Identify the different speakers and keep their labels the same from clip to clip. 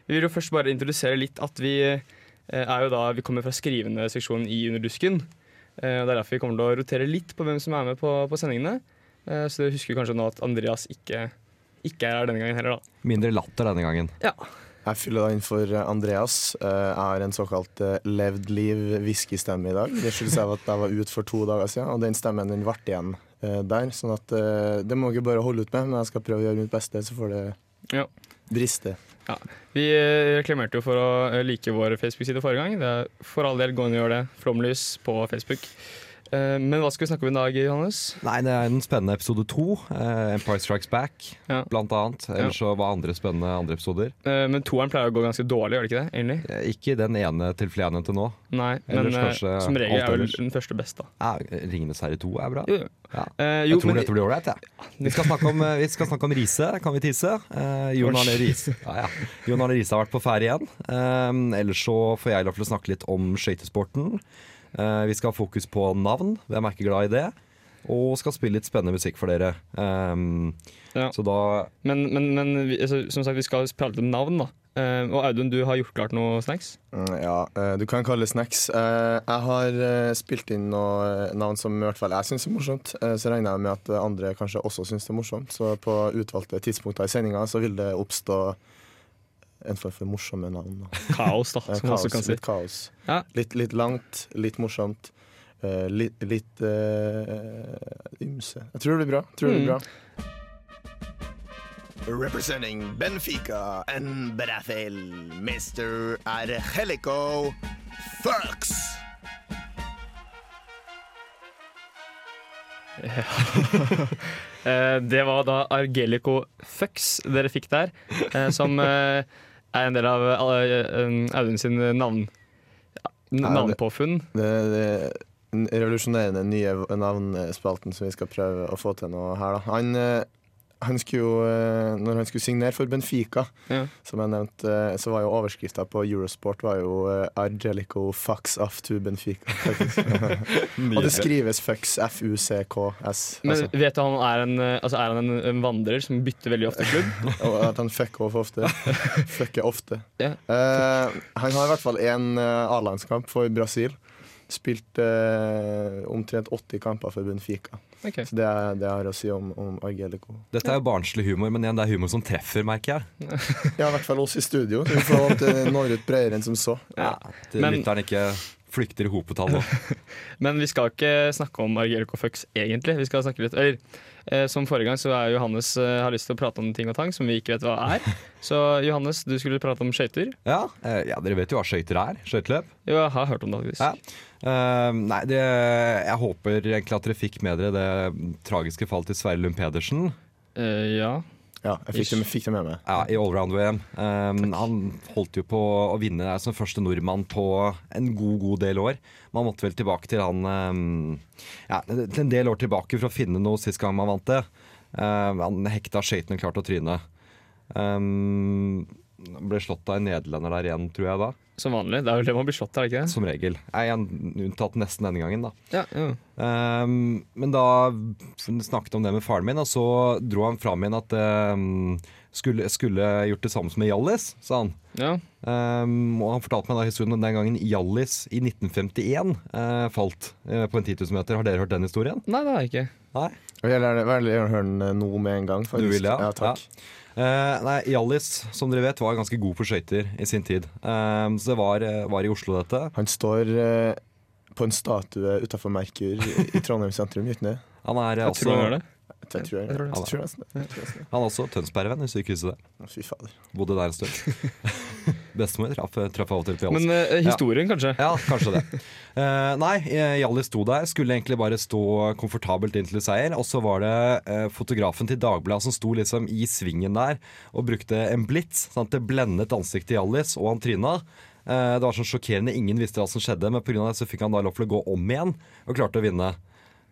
Speaker 1: vi vil jo først bare introdusere litt at vi eh, er jo da Vi kommer fra skrivende seksjonen i Underdusken. Eh, og Det er derfor vi kommer til å rotere litt på hvem som er med på, på sendingene. Eh, Så du husker kanskje nå at Andreas ikke, ikke er her denne gangen heller, da.
Speaker 2: Mindre latter denne gangen.
Speaker 3: Jeg fyller da inn for Andreas. Eh, Jeg har en såkalt eh, levd liv-whiskystemme i dag. Det skyldes av at jeg var ute for to dager siden, og den stemmen den ble igjen eh, der. Sånn at eh, det må dere bare holde ut med, men jeg skal prøve å gjøre mitt beste, så får det
Speaker 1: Ja.
Speaker 3: briste.
Speaker 1: Vi eh, reklamerte jo for å eh, like vår Facebook-side forrige gang. Det er for all del gå inn og gjør det. Flomlys på Facebook. Eh, Men hva skal vi snakke om i dag, Johannes?
Speaker 2: Nei, det er en spennende episode to. Eh, Empire Strikes Back,
Speaker 1: Ja.
Speaker 2: blant annet. Ellers så var andre spennende andre episoder.
Speaker 1: Eh, Men toeren pleier å gå ganske dårlig, gjør det ikke det? egentlig?
Speaker 2: Eh, Ikke den ene til flere enn til nå.
Speaker 1: Nei, men
Speaker 2: Ellers
Speaker 1: eh,
Speaker 2: kanskje
Speaker 1: som regel
Speaker 2: alt
Speaker 1: er vel
Speaker 2: ellers.
Speaker 1: den første best, da.
Speaker 2: Ja, Ringenes herre 2 er bra.
Speaker 1: Jo, jo.
Speaker 2: Ja.
Speaker 1: Eh,
Speaker 2: Jeg
Speaker 1: jo,
Speaker 2: tror
Speaker 1: men-
Speaker 2: dette blir ålreit, jeg. Vi skal snakke om, eh, vi skal snakke om Riise. Kan vi tisse? Eh, Jon Arne Riise ja, ja. Jon Arne Riise har vært på ferie igjen. Eh, ellers så får jeg lov til å snakke litt om skøytesporten. Eh, vi skal ha fokus på navn. Hvem er ikke glad i det? Og skal spille litt spennende musikk for dere. Eh,
Speaker 1: Ja.
Speaker 2: Så da
Speaker 1: Men, men, men vi- altså, som sagt, vi skal prate om navn, da. Eh, Og Audun, du har gjort klart noe snacks?
Speaker 3: Mm, Ja, eh, du kan kalle det snacks. Eh, Jeg har eh, spilt inn noen navn som i hvert fall jeg syns er morsomt. Eh, Så regner jeg med at andre kanskje også syns det er morsomt. Så på utvalgte tidspunkter i sendinga så vil det oppstå en form for morsomme navn. Da.
Speaker 1: Kaos, da,
Speaker 3: Eh,
Speaker 1: som man også
Speaker 3: kaos,
Speaker 1: kan si.
Speaker 3: Litt kaos.
Speaker 1: Ja.
Speaker 3: Litt, litt langt, litt morsomt. eh, litt litt eh, ymse. Jeg tror det blir bra. Jeg Tror det blir bra.
Speaker 4: Mm. Representing Benfica and Brazil, Mr. Angelico Fox.
Speaker 1: Eh, Det var da Argelico Fux dere fikk der, eh, som eh, er en del av eh, eh, Audun sin navn, n-
Speaker 3: Ja, det-
Speaker 1: navnpåfunn.
Speaker 3: Det, det den revolusjonerende nye navnespalten som vi skal prøve å få til nå her. Da. Han, eh, han skulle jo, eh, når han skulle signere for Benfica,
Speaker 1: Ja.
Speaker 3: som jeg nevnte, eh, så var jo overskrifta på Eurosport var jo eh, 'Angelico fucks off to Benfica'. faktisk. Og det skrives 'fucks', F-U-C-K-S.
Speaker 1: Men vet du han er en, eh, altså er han en, en vandrer som bytter veldig ofte klubb?
Speaker 3: Og at han fucker off ofte. Fucker ofte.
Speaker 1: Ja.
Speaker 3: Eh, han har i hvert fall én uh, A-landskamp for Brasil. Spilt eh, omtrent 80 kamper for Benfica.
Speaker 1: Ok.
Speaker 3: Så det er det jeg har å si om, om Argelico.
Speaker 2: Dette er jo barnslig humor, men igjen, det er humor som treffer, merker jeg.
Speaker 3: Ja, i hvert fall oss i studio. Så vi får håpe eh, det når ut bredere enn som så.
Speaker 1: Ja.
Speaker 2: Til
Speaker 1: Men-
Speaker 2: lytteren ikke flykter i hopetall nå.
Speaker 1: Men vi skal ikke snakke om Argelico Fux egentlig. Vi skal snakke litt, eller eh, Som forrige gang så er Johannes eh, har lyst til å prate om ting og tang som vi ikke vet hva er. Så Johannes, du skulle prate om skøyter.
Speaker 2: Ja, eh, ja, dere vet jo hva skøyter er. Skøyteløp.
Speaker 1: Jo, jeg har hørt om det. faktisk.
Speaker 2: Ja. Eh, nei, det, jeg håper egentlig at dere fikk med dere det tragiske fallet til Sverre Lund Pedersen
Speaker 1: Eh, ja.
Speaker 3: Ja, jeg fikk det, fikk det med meg.
Speaker 2: ja, i allround-VM. Eh, han holdt jo på å vinne der som første nordmann på en god, god del år. Man måtte vel tilbake til han eh, ja, til en del år tilbake for å finne noe sist gang man vant det. Eh, han hekta skøytene klart og trynet. Eh, ble slått av en nederlender der igjen, tror jeg da.
Speaker 1: Som vanlig. Det er vel det man blir slått av, er det ikke det?
Speaker 2: Som regel. Nei, han- unntatt nesten denne gangen, da.
Speaker 1: Ja, ja.
Speaker 2: Ehm, men da snakket om det med faren min, og så dro han fram igjen at ehm, skulle, skulle gjort det samme som med Hjallis, sa han.
Speaker 1: ja.
Speaker 2: Ehm, og han fortalte meg da historien om den gangen Hjallis i 1951 eh, falt eh, på en 10 000 meter. Har dere hørt den historien?
Speaker 1: Nei, det har jeg ikke.
Speaker 2: Nei?
Speaker 3: Jeg vil gjerne, veldig gjerne høre den eh, nå med en gang.
Speaker 2: Du
Speaker 3: Faktisk.
Speaker 2: vil det,
Speaker 3: ja? takk.
Speaker 2: Eh, nei, Hjallis, som dere vet, var ganske god på skøyter i sin tid. Ehm, så det var, eh, var i Oslo, dette.
Speaker 3: Han står eh, på en statue utafor Merkur i i Trondheim sentrum, gjør han ikke det?
Speaker 2: Han er eh,
Speaker 1: Jeg tror han gjør
Speaker 2: også,
Speaker 1: det.
Speaker 3: Jeg tror jeg, jeg, tror
Speaker 2: det.
Speaker 3: nesten det. jeg tror nesten det.
Speaker 2: han er også Tønsberg-venn i sykehuset der.
Speaker 3: Å, Fy fader.
Speaker 2: Bodde der en stund. Bestemor traff traff av og til på Jals.
Speaker 1: Men eh, historien, kanskje.
Speaker 2: Ja, kanskje det. Eh, nei, eh, Hjalli sto der. Skulle egentlig bare stå komfortabelt inntil seier. Og så var det eh, fotografen til Dagbladet som sto liksom i svingen der og brukte en blitz. Sånn at det blendet ansiktet til Hjallis, og han tryna. Eh, det var sånn sjokkerende, ingen visste hva som skjedde, men pga. det så fikk han da lov til å gå om igjen, og klarte å vinne.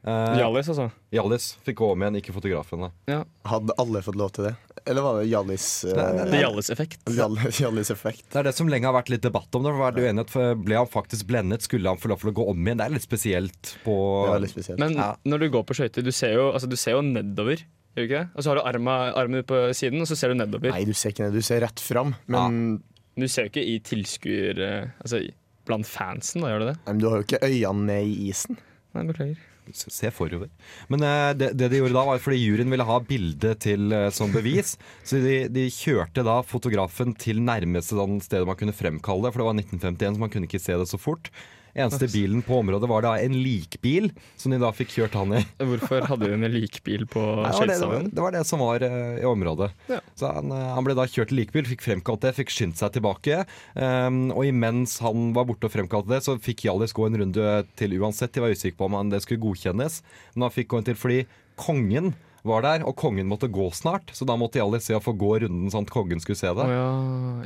Speaker 2: Eh,
Speaker 1: Hjallis, altså.
Speaker 2: Hjallis fikk gå om igjen, ikke fotografen. da.
Speaker 1: Ja.
Speaker 3: Hadde alle fått lov til det? Eller var det Hjallis eh,
Speaker 1: The Hjallis-effekt.
Speaker 3: Hjallis- Hjallis effekt?
Speaker 2: Det er det som lenge har vært litt debatt om. det for det er uenighet, for Ble han faktisk blendet? Skulle han få lov til å gå om igjen? Det er litt spesielt på
Speaker 3: Det var litt spesielt.
Speaker 1: Men
Speaker 2: Ja.
Speaker 1: når du går på skøyter, du, ser jo- altså, du ser jo nedover. Gjør du ikke det? Og så har du arma, armen ut på siden, og så ser du nedover.
Speaker 3: Nei, du ser ikke det. Du ser rett fram. Men
Speaker 1: Men du ser jo ikke i tilskuer... eh, Altså, i- blant fansen, da gjør du det?
Speaker 3: Nei, men du har jo ikke øynene ned i isen.
Speaker 1: Nei, beklager.
Speaker 2: Se forover. Men eh, det, det de gjorde da, var fordi juryen ville ha bildet til eh, som bevis. Så de, de kjørte da fotografen til nærmeste sånn stedet man kunne fremkalle det, for det var 1951, så man kunne ikke se det så fort. Eneste bilen på området var da en likbil, som de da fikk kjørt han i.
Speaker 1: Hvorfor hadde de en likbil på
Speaker 2: Nei, det, var det, det, var,
Speaker 1: skøytestaven?
Speaker 2: det var det som var eh, i området.
Speaker 1: Ja.
Speaker 2: Så han, eh, han ble da kjørt til likbil, fikk fremkalt det, fikk skyndt seg tilbake. ehm, og imens han var borte og fremkalte det, så fikk Hjallis gå en runde til uansett. De var usikre på om han, det skulle godkjennes, men han fikk gå en til fordi kongen var der, og kongen måtte gå snart. Så da måtte Hjallis se å få gå runden sånn at kongen skulle
Speaker 1: Å
Speaker 2: se det.
Speaker 1: ja,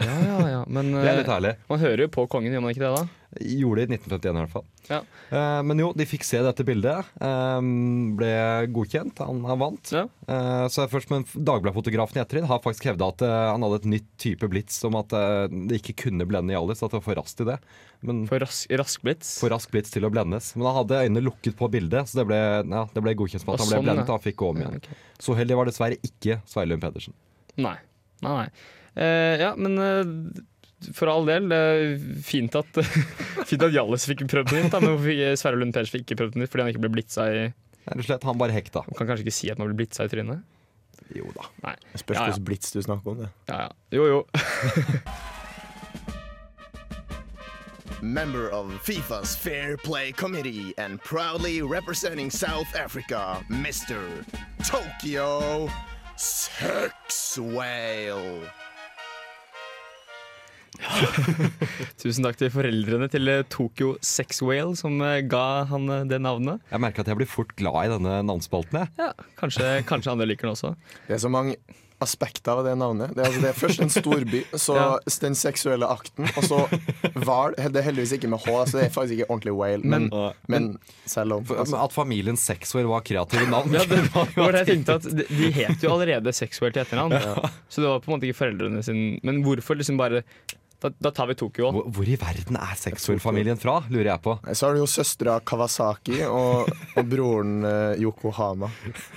Speaker 1: ja, ja. ja. Men
Speaker 2: Det er litt
Speaker 1: eh,
Speaker 2: ærlig.
Speaker 1: man hører jo på kongen, gjør man ikke det da?
Speaker 2: Gjorde det i 1951 i hvert fall.
Speaker 1: Ja.
Speaker 2: Eh, men jo, de fikk se dette bildet. ehm, ble godkjent. Han, han vant.
Speaker 1: Ja.
Speaker 2: Eh, Så er først, men Dagbladfotografen i ettertid har faktisk hevda at eh, han hadde et nytt type blitz om at eh, det ikke kunne blende Hjallis, at det var for raskt i det. Men
Speaker 1: For rask, rask blitz.
Speaker 2: for rask blitz til å blendes. Men han hadde øynene lukket på bildet, så det ble, ja, det ble godkjent som
Speaker 1: Og
Speaker 2: at han ble
Speaker 1: sånn, ja.
Speaker 2: blendet. og Han fikk gå om
Speaker 1: Ja,
Speaker 2: igjen.
Speaker 1: ok.
Speaker 2: Så heldig var dessverre ikke Sveilund Pedersen.
Speaker 1: Nei. Nei, nei. Eh, ja, men eh, for all del, eh, fint at, fint at Hjallis fikk prøvd den litt, da, men hvorfor fikk Sverre Lund Persen ikke prøvd den litt fordi han ikke ble blitza i
Speaker 2: Rett og slett, han bare hekta.
Speaker 1: Man kan kanskje ikke si at man ble blitza i trynet?
Speaker 2: Jo da.
Speaker 1: Nei.
Speaker 3: Det Spørs
Speaker 1: Ja, ja.
Speaker 3: hvordan blits du snakker om. det
Speaker 1: Ja, ja. Jo, jo.
Speaker 4: Member of FIFA's Fair Play Committee and proudly representing South Africa, Mr. Tokyo Sex Whale.
Speaker 1: Tusen takk til foreldrene til eh, Tokyo Sex Whale, som eh, ga han eh, det navnet.
Speaker 2: Jeg merker at jeg blir fort glad i denne navnespalten. jeg.
Speaker 1: Ja, Kanskje, kanskje andre liker den også.
Speaker 3: Det er så mange aspekter av det navnet. Det er, altså, det er først en storby, så
Speaker 1: Ja.
Speaker 3: den seksuelle akten, og så hval. Det er heldigvis ikke med H, altså, det er faktisk ikke ordentlig whale. Men, men, selv om altså,
Speaker 2: At familien Sexwell var kreative navn.
Speaker 1: Ja, det var jo det jeg tenkte at De de het jo allerede Sexwell til etternavn, så det var på en måte ikke foreldrene sin Men hvorfor liksom bare Da, da tar vi Tokyo.
Speaker 2: Hvor, hvor i verden er Sexwell-familien fra, lurer jeg på.
Speaker 3: Så har du jo søstera Kawasaki og, og broren eh, Yokohama.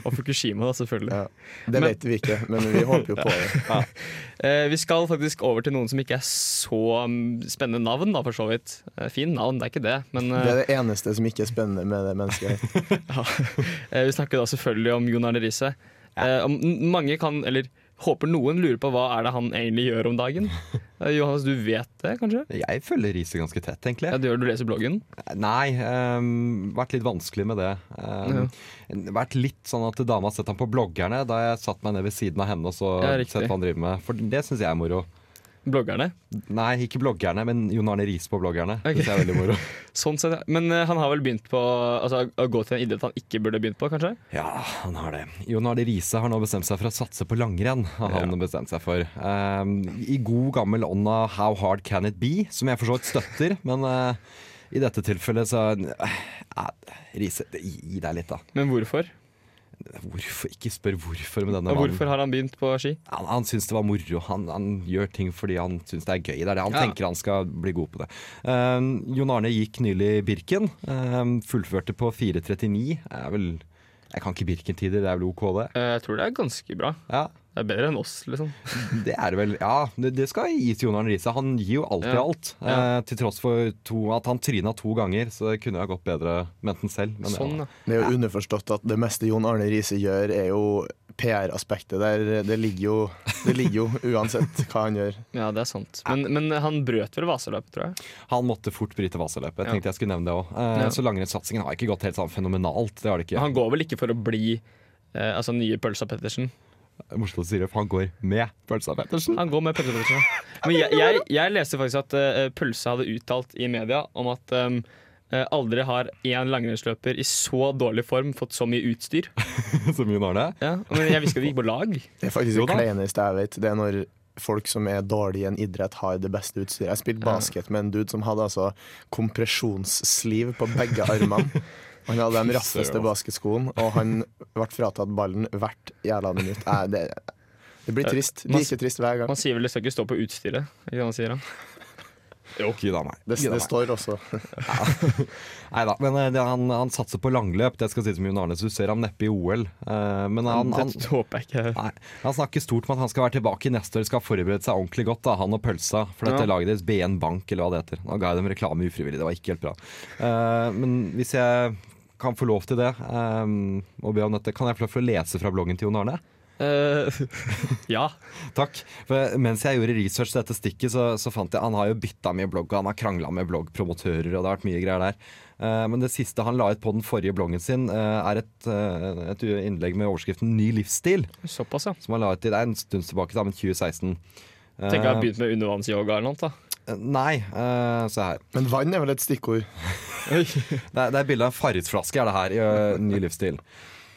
Speaker 1: Og Fukushima, da, selvfølgelig.
Speaker 3: Ja. Det vet vi ikke, men vi håper jo på det.
Speaker 1: Eh, vi skal faktisk over til noen som ikke er så mm, spennende navn, da, for så vidt. Eh, fin navn, det er ikke det, men
Speaker 3: Det
Speaker 1: eh,
Speaker 3: er det eneste som ikke er spennende med det mennesket. her.
Speaker 1: eh, vi snakker da selvfølgelig om Jon Arne Riise. Eh, om- n- mange kan, eller håper noen lurer på hva er det han egentlig gjør om dagen. Eh, Johannes, du vet det kanskje?
Speaker 2: Jeg følger riset ganske tett, egentlig.
Speaker 1: Ja, du gjør du leser bloggen?
Speaker 2: Nei, ehm, vært litt vanskelig med det. Ehm, Vært litt sånn at dama har sett ham på bloggerne da jeg satt meg ned ved siden av henne og så
Speaker 1: Ja, riktig.
Speaker 2: sett hva han driver med. For det syns jeg er moro.
Speaker 1: Bloggerne.
Speaker 2: Nei, ikke bloggerne, men Jon Arne Riis på bloggerne.
Speaker 1: Ok.
Speaker 2: Synes jeg er veldig moro.
Speaker 1: Sånn sett, ja. Men eh, han har vel begynt på altså, å gå til en idrett han ikke burde begynt på, kanskje?
Speaker 2: Ja, han har det. Jon Arne Riise har nå bestemt seg for å satse på langrenn. Har han bestemt seg for. Ehm, I god gammel ånd av How Hard Can It Be, som jeg for så vidt støtter, men eh, i dette tilfellet så eh, Riise, gi deg litt, da.
Speaker 1: Men hvorfor?
Speaker 2: Hvorfor? Ikke spør hvorfor med denne
Speaker 1: Og
Speaker 2: mannen.
Speaker 1: hvorfor har han begynt på ski?
Speaker 2: Han, han syns det var moro. Han, han gjør ting fordi han syns det er gøy. Det er det han
Speaker 1: Ja.
Speaker 2: tenker han skal bli god på det. Ehm, Jon Arne gikk nylig Birken. ehm, fullførte på 4.39. Er vel Jeg kan ikke Birken-tider, det er vel OK, det?
Speaker 1: Eh, jeg tror det er ganske bra.
Speaker 2: Ja.
Speaker 1: Det er bedre enn oss, liksom.
Speaker 2: Det er det vel. Ja, det det skal jeg gi til Jon Arne Riise. Han gir jo alltid
Speaker 1: Ja.
Speaker 2: alt.
Speaker 1: Ja.
Speaker 2: Eh, til tross for to, at han tryna to ganger, så det kunne ha gått bedre ment den selv. Men
Speaker 1: Sånn,
Speaker 2: ja.
Speaker 1: ja.
Speaker 3: Det er jo underforstått at det meste Jon Arne Riise gjør, er jo PR-aspektet der. Det ligger jo, det ligger jo uansett hva han gjør.
Speaker 1: ja, det er sant. Men, men han brøt vel Vasaløpet, tror jeg.
Speaker 2: Han måtte fort bryte Vasaløpet. Jeg
Speaker 1: Ja.
Speaker 2: tenkte jeg skulle nevne det òg. Eh,
Speaker 1: Ja.
Speaker 2: Så langrennssatsingen har ikke gått helt sånn fenomenalt. Det har det ikke.
Speaker 1: Han går vel ikke for å bli eh, altså nye Pølsa Pettersen.
Speaker 2: Morsomt å si det, for han går med Pølsa Pettersen.
Speaker 1: Han går med Pølsa Pettersen. Men jeg, jeg, jeg leste faktisk at eh, Pølsa hadde uttalt i media om at eh, eh, aldri har én langrennsløper i så dårlig form fått så mye utstyr.
Speaker 2: Som Jon Arne.
Speaker 1: Ja, men jeg visste ikke at de gikk på lag.
Speaker 3: Det er faktisk det
Speaker 2: da.
Speaker 3: kleineste jeg vet. Det er når folk som er dårlige i en idrett, har det beste utstyret. Jeg spilte basket med en dude som hadde altså kompresjonssliv på begge armene. Han hadde de raffeste
Speaker 2: Søren.
Speaker 3: basketskoene, og han ble fratatt ballen hvert jævla minutt. Nei, det, det blir trist. Like trist hver gang.
Speaker 1: Man sier vel det skal ikke stå på utstyret. Ikke det man sier da?
Speaker 2: Gidda meg.
Speaker 3: Det,
Speaker 2: Gidda
Speaker 3: det
Speaker 2: meg.
Speaker 3: står også.
Speaker 2: Nei da, men eh, det, han, han satser på langløp. Det skal sies om Jon Arne, så du ser ham neppe i OL. Eh, men han, han,
Speaker 1: Det håper jeg ikke.
Speaker 2: nei, han snakker stort om at han skal være tilbake neste år, skal ha forberedt seg ordentlig godt, da, han og pølsa. For dette
Speaker 1: Ja.
Speaker 2: laget deres, BN Bank eller hva det heter. Nå ga jeg dem reklame ufrivillig, det var ikke helt bra. Eh, men hvis jeg kan få lov til det, eh, og be om dette, kan jeg få lov til å lese fra bloggen til Jon Arne?
Speaker 1: Eh, ja.
Speaker 2: Takk. For mens jeg gjorde research til dette stikket, så, så fant jeg Han har jo bytta mye blogg, og han har krangla med bloggpromotører, og det har vært mye greier der. Eh, men det siste han la ut på den forrige bloggen sin, eh, er et, eh, et innlegg med overskriften 'Ny livsstil',
Speaker 1: Såpass, ja.
Speaker 2: som han la ut i det er en stund tilbake, da, men 2016. Eh,
Speaker 1: Tenker jeg har begynt med undervannsyoga eller noe. da
Speaker 2: eh, Nei, eh, se her.
Speaker 3: Men vann er vel et stikkord.
Speaker 2: Det er, det er bilde av en Farris-flaske, er det her, i ø, Ny livsstil.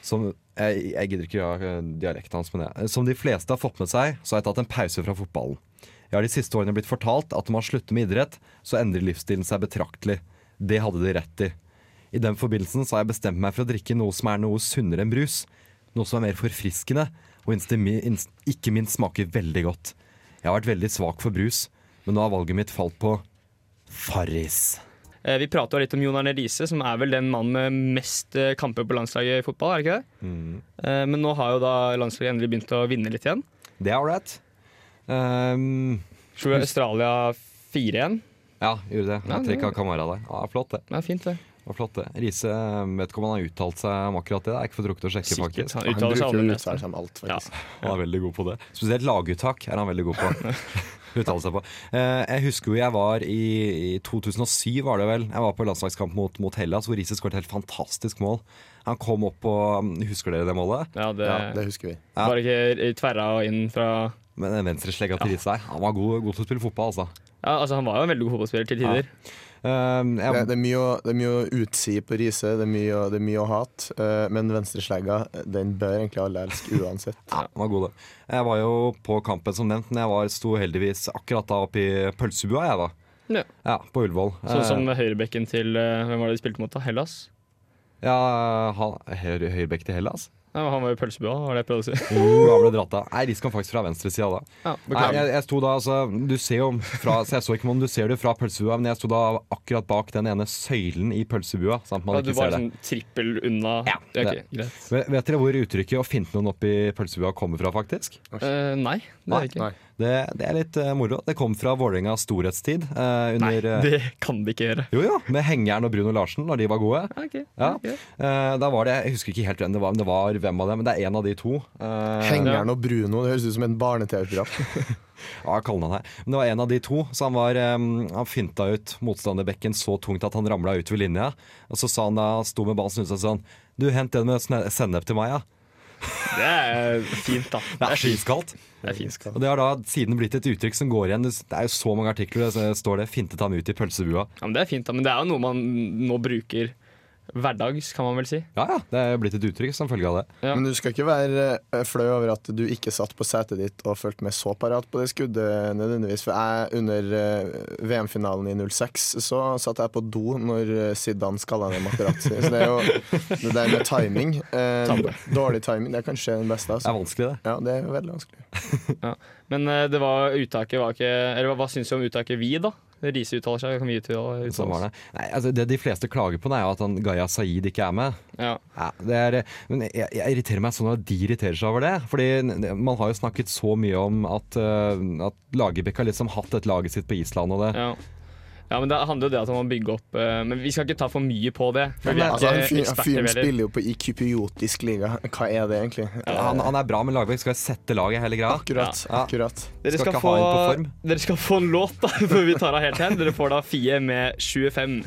Speaker 2: Som, jeg, jeg gidder ikke å ha eh, dialekten hans, men jeg. eh, Som de fleste har fått med seg, så har jeg tatt en pause fra fotballen. Jeg har de siste årene blitt fortalt at når man slutter med idrett, så endrer livsstilen seg betraktelig. Det hadde de rett i. I den forbindelsen så har jeg bestemt meg for å drikke noe som er noe sunnere enn brus. Noe som er mer forfriskende, og instimi, inst, ikke minst smaker veldig godt. Jeg har vært veldig svak for brus, men nå har valget mitt falt på Farris.
Speaker 1: Eh, Vi prater jo litt om Jon Arne Riise, som er vel den mannen med mest eh, kamper på landslaget i fotball. er det ikke det?
Speaker 2: Mm.
Speaker 1: Eh, Men nå har jo da landslaget endelig begynt å vinne litt igjen.
Speaker 2: Det er ålreit. Ehm,
Speaker 1: Slo Australia 4-1.
Speaker 2: ja, gjorde det. Jeg trekk av kamera der. Ja, flott det.
Speaker 1: Det er fint, det.
Speaker 2: Ja, flott det. Rise ehm, vet ikke om han har uttalt seg om akkurat det. Jeg har ikke fått rukket å sjekke,
Speaker 1: Sikkert.
Speaker 2: faktisk.
Speaker 1: Han
Speaker 3: Han
Speaker 1: uttaler
Speaker 3: bruker
Speaker 1: seg
Speaker 3: jo
Speaker 1: aldri
Speaker 3: uttaler
Speaker 1: mest.
Speaker 3: seg om alt,
Speaker 1: Ja.
Speaker 3: faktisk.
Speaker 2: Han er veldig god på det. Spesielt laguttak er han veldig god på. Uttale seg på. Eh, jeg husker jo jeg var i, i 2007, var det vel. Jeg var på landslagskamp mot, mot Hellas, hvor Riise skåret et helt fantastisk mål. Han kom opp og Husker dere det målet?
Speaker 1: Ja, det
Speaker 3: Ja, det husker vi.
Speaker 2: Ja.
Speaker 1: Bare ikke eh, tverra og inn fra
Speaker 2: Med den venstreslegga til Riise der. Han var god, god til å spille fotball, altså.
Speaker 1: ja, altså Han var jo en veldig god fotballspiller til tider.
Speaker 2: Ehm, jeg,
Speaker 3: Det, det, er mye å, det er mye å utsi på Riise, det er mye, å- det er mye å hate. eh, men venstreslegga, den bør egentlig alle elske uansett.
Speaker 2: Ja, den var god, det. Jeg var jo på kampen som nevnt, men jeg var, sto heldigvis akkurat da oppe i pølsebua, jeg da.
Speaker 1: Ja.
Speaker 2: Ja, på Ullevål.
Speaker 1: Sånn som
Speaker 2: Eh,
Speaker 1: høyrebekken til eh, Hvem var det de spilte mot, da? Hellas?
Speaker 2: Ja, han, høy, Høyrebekk til Hellas. Uh,
Speaker 1: Ja, han var jo i pølsebua, var det jeg prøvde å si.
Speaker 2: Han ble dratt av. Nei, de kom faktisk fra venstresida da.
Speaker 1: Ja,
Speaker 2: Nei,
Speaker 1: beklager.
Speaker 2: jeg, jeg sto da, altså, du ser jo fra, så jeg så ikke om du ser det fra pølsebua, men jeg sto da akkurat bak den ene søylen i pølsebua, sånn at man
Speaker 1: Ja, du
Speaker 2: ikke
Speaker 1: var
Speaker 2: ser det.
Speaker 1: sånn trippel unna.
Speaker 2: Ja,
Speaker 1: Ok,
Speaker 2: det-
Speaker 1: greit.
Speaker 2: Vet, vet dere hvor uttrykket å finne noen opp i pølsebua kommer fra, faktisk?
Speaker 1: Eh, nei, det er
Speaker 2: Nei,
Speaker 1: det ikke.
Speaker 3: nei.
Speaker 2: Det, det er litt eh, moro. Det kom fra Vålerengas storhetstid. eh,
Speaker 1: Nei,
Speaker 2: under, eh,
Speaker 1: det kan de ikke gjøre.
Speaker 2: Jo, jo, med Hengeren og Bruno Larsen når de var gode.
Speaker 1: Ok,
Speaker 2: Ja.
Speaker 1: ok.
Speaker 2: Eh, da var det, Jeg husker ikke helt hvem det var, men det var hvem av dem, men det er en av de to. Eh,
Speaker 3: Hengeren og Bruno, det høres ut som en barne-TV-program.
Speaker 2: ja, jeg kaller han her. Men det var en av de to, så han, var, eh, han finta ut motstanderbekken så tungt at han ramla ut ved linja. Og så sa han da, han sto med ballen snudde seg sånn Du, hent den med sne- sennep til meg, ja.
Speaker 1: Det er fint, da.
Speaker 2: Det er skiskaldt.
Speaker 1: Det er fint.
Speaker 2: Og det har da siden blitt et uttrykk som går igjen. Det er jo så mange artikler det står det 'fintet ham ut i pølsebua'.
Speaker 1: Ja, men det er fint, da. Men det er jo noe man nå bruker hverdags, kan man vel si.
Speaker 2: Ja ja, det er blitt et uttrykk som følge av det.
Speaker 1: Ja.
Speaker 3: Men du skal ikke være eh, flau over at du ikke satt på setet ditt og fulgte med så parat på det skuddet, nødvendigvis. For jeg, under eh, VM-finalen i 06, så satt jeg på do når eh, Zidane skalla ned Materazzi. Så det er jo det der med timing. eh,
Speaker 1: Tabbe.
Speaker 3: dårlig timing, det er kanskje den beste.
Speaker 2: Det er
Speaker 3: Altså.
Speaker 2: vanskelig, det.
Speaker 3: Ja, det er veldig vanskelig.
Speaker 1: Men eh, det var uttaket var ikke Eller hva, hva syns du om uttaket vi, da? Riise uttaler seg, kan vi uttale
Speaker 2: Sånn
Speaker 1: uttale oss?
Speaker 2: var det. Nei, altså, det de fleste klager på, det er jo at han Gaya Saeed ikke er med.
Speaker 1: Ja.
Speaker 2: Ja, det er, men jeg, jeg irriterer meg sånn at de irriterer seg over det. Fordi n- man har jo snakket så mye om at, eh, at Lagerbäck har liksom hatt et laget sitt på Island og det.
Speaker 1: Ja. ja, men det handler jo det at man må bygge opp eh, Men vi skal ikke ta for mye på det. For vi er
Speaker 3: Altså, han
Speaker 1: ikke
Speaker 3: fyren- han
Speaker 1: eksperter
Speaker 3: fyren
Speaker 1: vi heller.
Speaker 3: spiller jo på i kypriotisk liga. Hva er det, egentlig?
Speaker 2: Han, han er bra, men Lagerbäck skal sette laget hele greia.
Speaker 3: Akkurat.
Speaker 2: Ja.
Speaker 3: akkurat.
Speaker 1: Dere
Speaker 2: skal
Speaker 1: skal,
Speaker 2: ikke
Speaker 1: få,
Speaker 2: ha en på form.
Speaker 1: dere skal få en låt da, før vi tar av helt hen. Dere får da Fie med 25.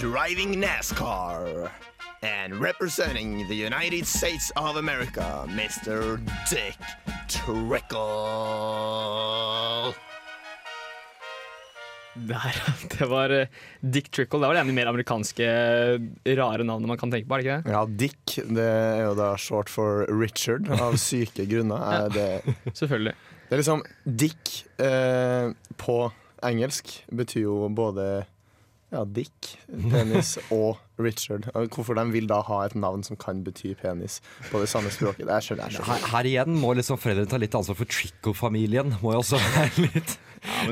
Speaker 4: driving NASCAR. And representing the United States of America, Mr. Dick Trickle.
Speaker 1: Der, det var eh, Dick Trickle. Det var det ene av de mer amerikanske eh, rare navnene man kan tenke på. er det ikke det?
Speaker 3: Ja, Dick. Det er jo da short for Richard, av syke grunner. Er det,
Speaker 1: Selvfølgelig.
Speaker 3: det er liksom Dick eh, på engelsk betyr jo både ja, Dick, penis og Richard. Og Hvorfor de vil da ha et navn som kan bety penis på det samme språket, det skjønner jeg.
Speaker 2: Her, her igjen må liksom foreldrene ta litt ansvar for Trickle-familien. Må jo også være litt,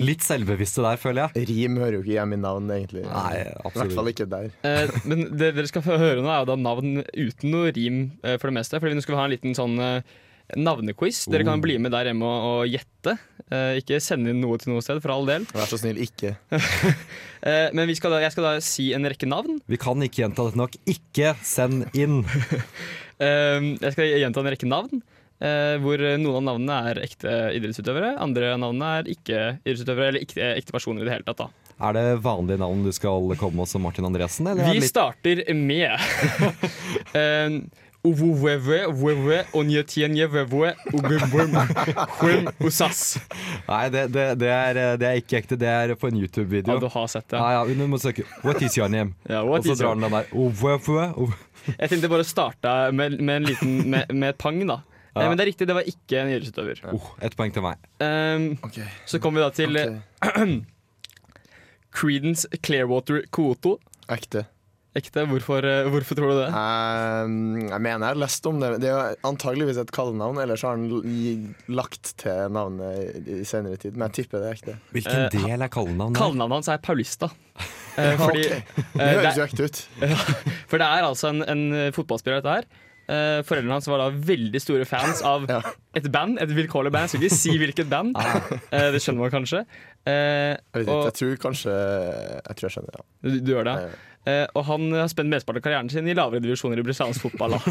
Speaker 2: litt selvbevisste der, føler jeg.
Speaker 3: Rim hører jo ikke hjemme i navn, egentlig.
Speaker 2: Nei,
Speaker 3: I hvert fall
Speaker 2: absolutt.
Speaker 3: ikke der.
Speaker 1: Eh, men det dere skal få høre nå, er jo da navn uten noe rim eh, for det meste. Fordi nå skal vi ha en liten sånn eh, navnequiz. Dere kan bli med der hjemme og, og gjette. Eh, ikke sende inn noe til noe sted, for all del.
Speaker 3: Vær så snill, ikke.
Speaker 1: Eh, men vi skal da, jeg skal da si en rekke navn.
Speaker 2: Vi kan ikke gjenta dette nok. Ikke send inn!
Speaker 1: Eh, jeg skal gjenta en rekke navn. eh, hvor eh, noen av navnene er ekte idrettsutøvere, andre av navnene er ikke idrettsutøvere eller ekte, ekte personer i det hele tatt. da.
Speaker 2: Er det vanlige navn du skal komme med som Martin Andresen? Eller er
Speaker 1: Vi
Speaker 2: det litt
Speaker 1: starter med um, Uwewe, wewe, onyetienje, wewe, ububum, hum, usas.
Speaker 2: Nei, det, det, det, er, det er ikke ekte. Det er på en
Speaker 1: Ja,
Speaker 2: YouTube-video.
Speaker 1: du har sett det.
Speaker 2: Ja, ja, men du må søke 'What is your name?'
Speaker 1: Ja, what
Speaker 2: Og så
Speaker 1: is your-
Speaker 2: drar den den der. «Oh, hvor- hvor- hvor?»
Speaker 1: Jeg tenkte bare å starte med, med, en liten, med, med et pang, da. Eh, Men det er riktig, det var ikke en idrettsutøver.
Speaker 2: Oh, Ett poeng til meg.
Speaker 1: Um,
Speaker 3: Ok.
Speaker 1: så kommer vi da til eh,
Speaker 3: Ok.
Speaker 1: Creedence Clearwater Koto.
Speaker 3: Ekte.
Speaker 1: Ekte, hvorfor, eh, hvorfor tror du det?
Speaker 3: Ehm, jeg mener jeg har lest om det. Det er jo antageligvis et kallenavn, eller så har han l- i- lagt til navnet i i senere tid. Men jeg tipper det er ekte.
Speaker 2: Hvilken
Speaker 1: Eh,
Speaker 2: del er kallenavn? der?
Speaker 1: Kallenavnet hans er Paulista. Eh, fordi,
Speaker 3: ok. Det
Speaker 1: eh,
Speaker 3: høres jo ekte ut.
Speaker 1: For det er altså en, en fotballspiller dette her. Eh, foreldrene hans var da veldig store fans av
Speaker 3: Ja. Ah.
Speaker 1: et band. Et vilkårlig band. Jeg skal ikke si hvilket band. Eh, det skjønner man kanskje. Eh,
Speaker 3: Jeg, vet ikke, jeg
Speaker 1: og,
Speaker 3: tror kanskje Jeg tror jeg skjønner, ja.
Speaker 1: du, du gjør det.
Speaker 3: Ja, ja.
Speaker 1: Eh, og han har spent mesteparten av karrieren sin i lavere divisjoner i brasiliansk fotball. Da.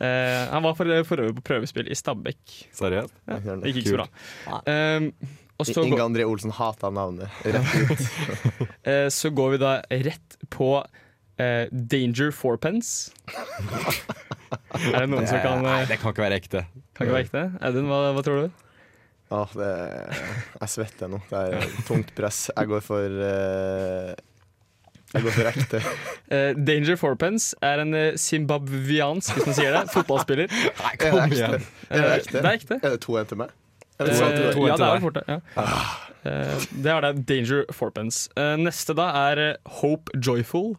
Speaker 1: Eh, han var for, for øvrig på prøvespill i Stabæk.
Speaker 2: Seriøst?
Speaker 3: Jeg gjør
Speaker 1: Det
Speaker 3: det.
Speaker 1: gikk ikke så bra. Eh, og så,
Speaker 3: Inge
Speaker 1: går-
Speaker 3: André Olsen hata navnet. Rett ut.
Speaker 1: eh, så går vi da rett på eh, Danger Fourpence. er det noen som kan,
Speaker 2: Nei,
Speaker 1: eh,
Speaker 2: det kan ikke være ekte.
Speaker 1: kan ikke være ekte? Audun, hva, hva tror du?
Speaker 3: Åh, det, jeg svetter nå. Det er tungt press. Jeg går for eh, Jeg går for ekte.
Speaker 1: Eh, Danger Fourpence er en eh, zimbabwiansk, hvis man sier det, fotballspiller.
Speaker 2: Nei,
Speaker 3: Er det
Speaker 2: kom
Speaker 3: ekte?
Speaker 2: igjen.
Speaker 3: Er det
Speaker 1: Eh,
Speaker 3: ekte?
Speaker 1: det er ekte.
Speaker 3: Er det to en til meg? Er det
Speaker 1: Eh, ja,
Speaker 3: to en til deg?
Speaker 2: to
Speaker 1: det
Speaker 2: til
Speaker 1: er
Speaker 2: deg. Ah.
Speaker 1: fort, ja. Eh, Det er det. Danger Fourpence. Eh, Neste da er eh, Hope Joyful.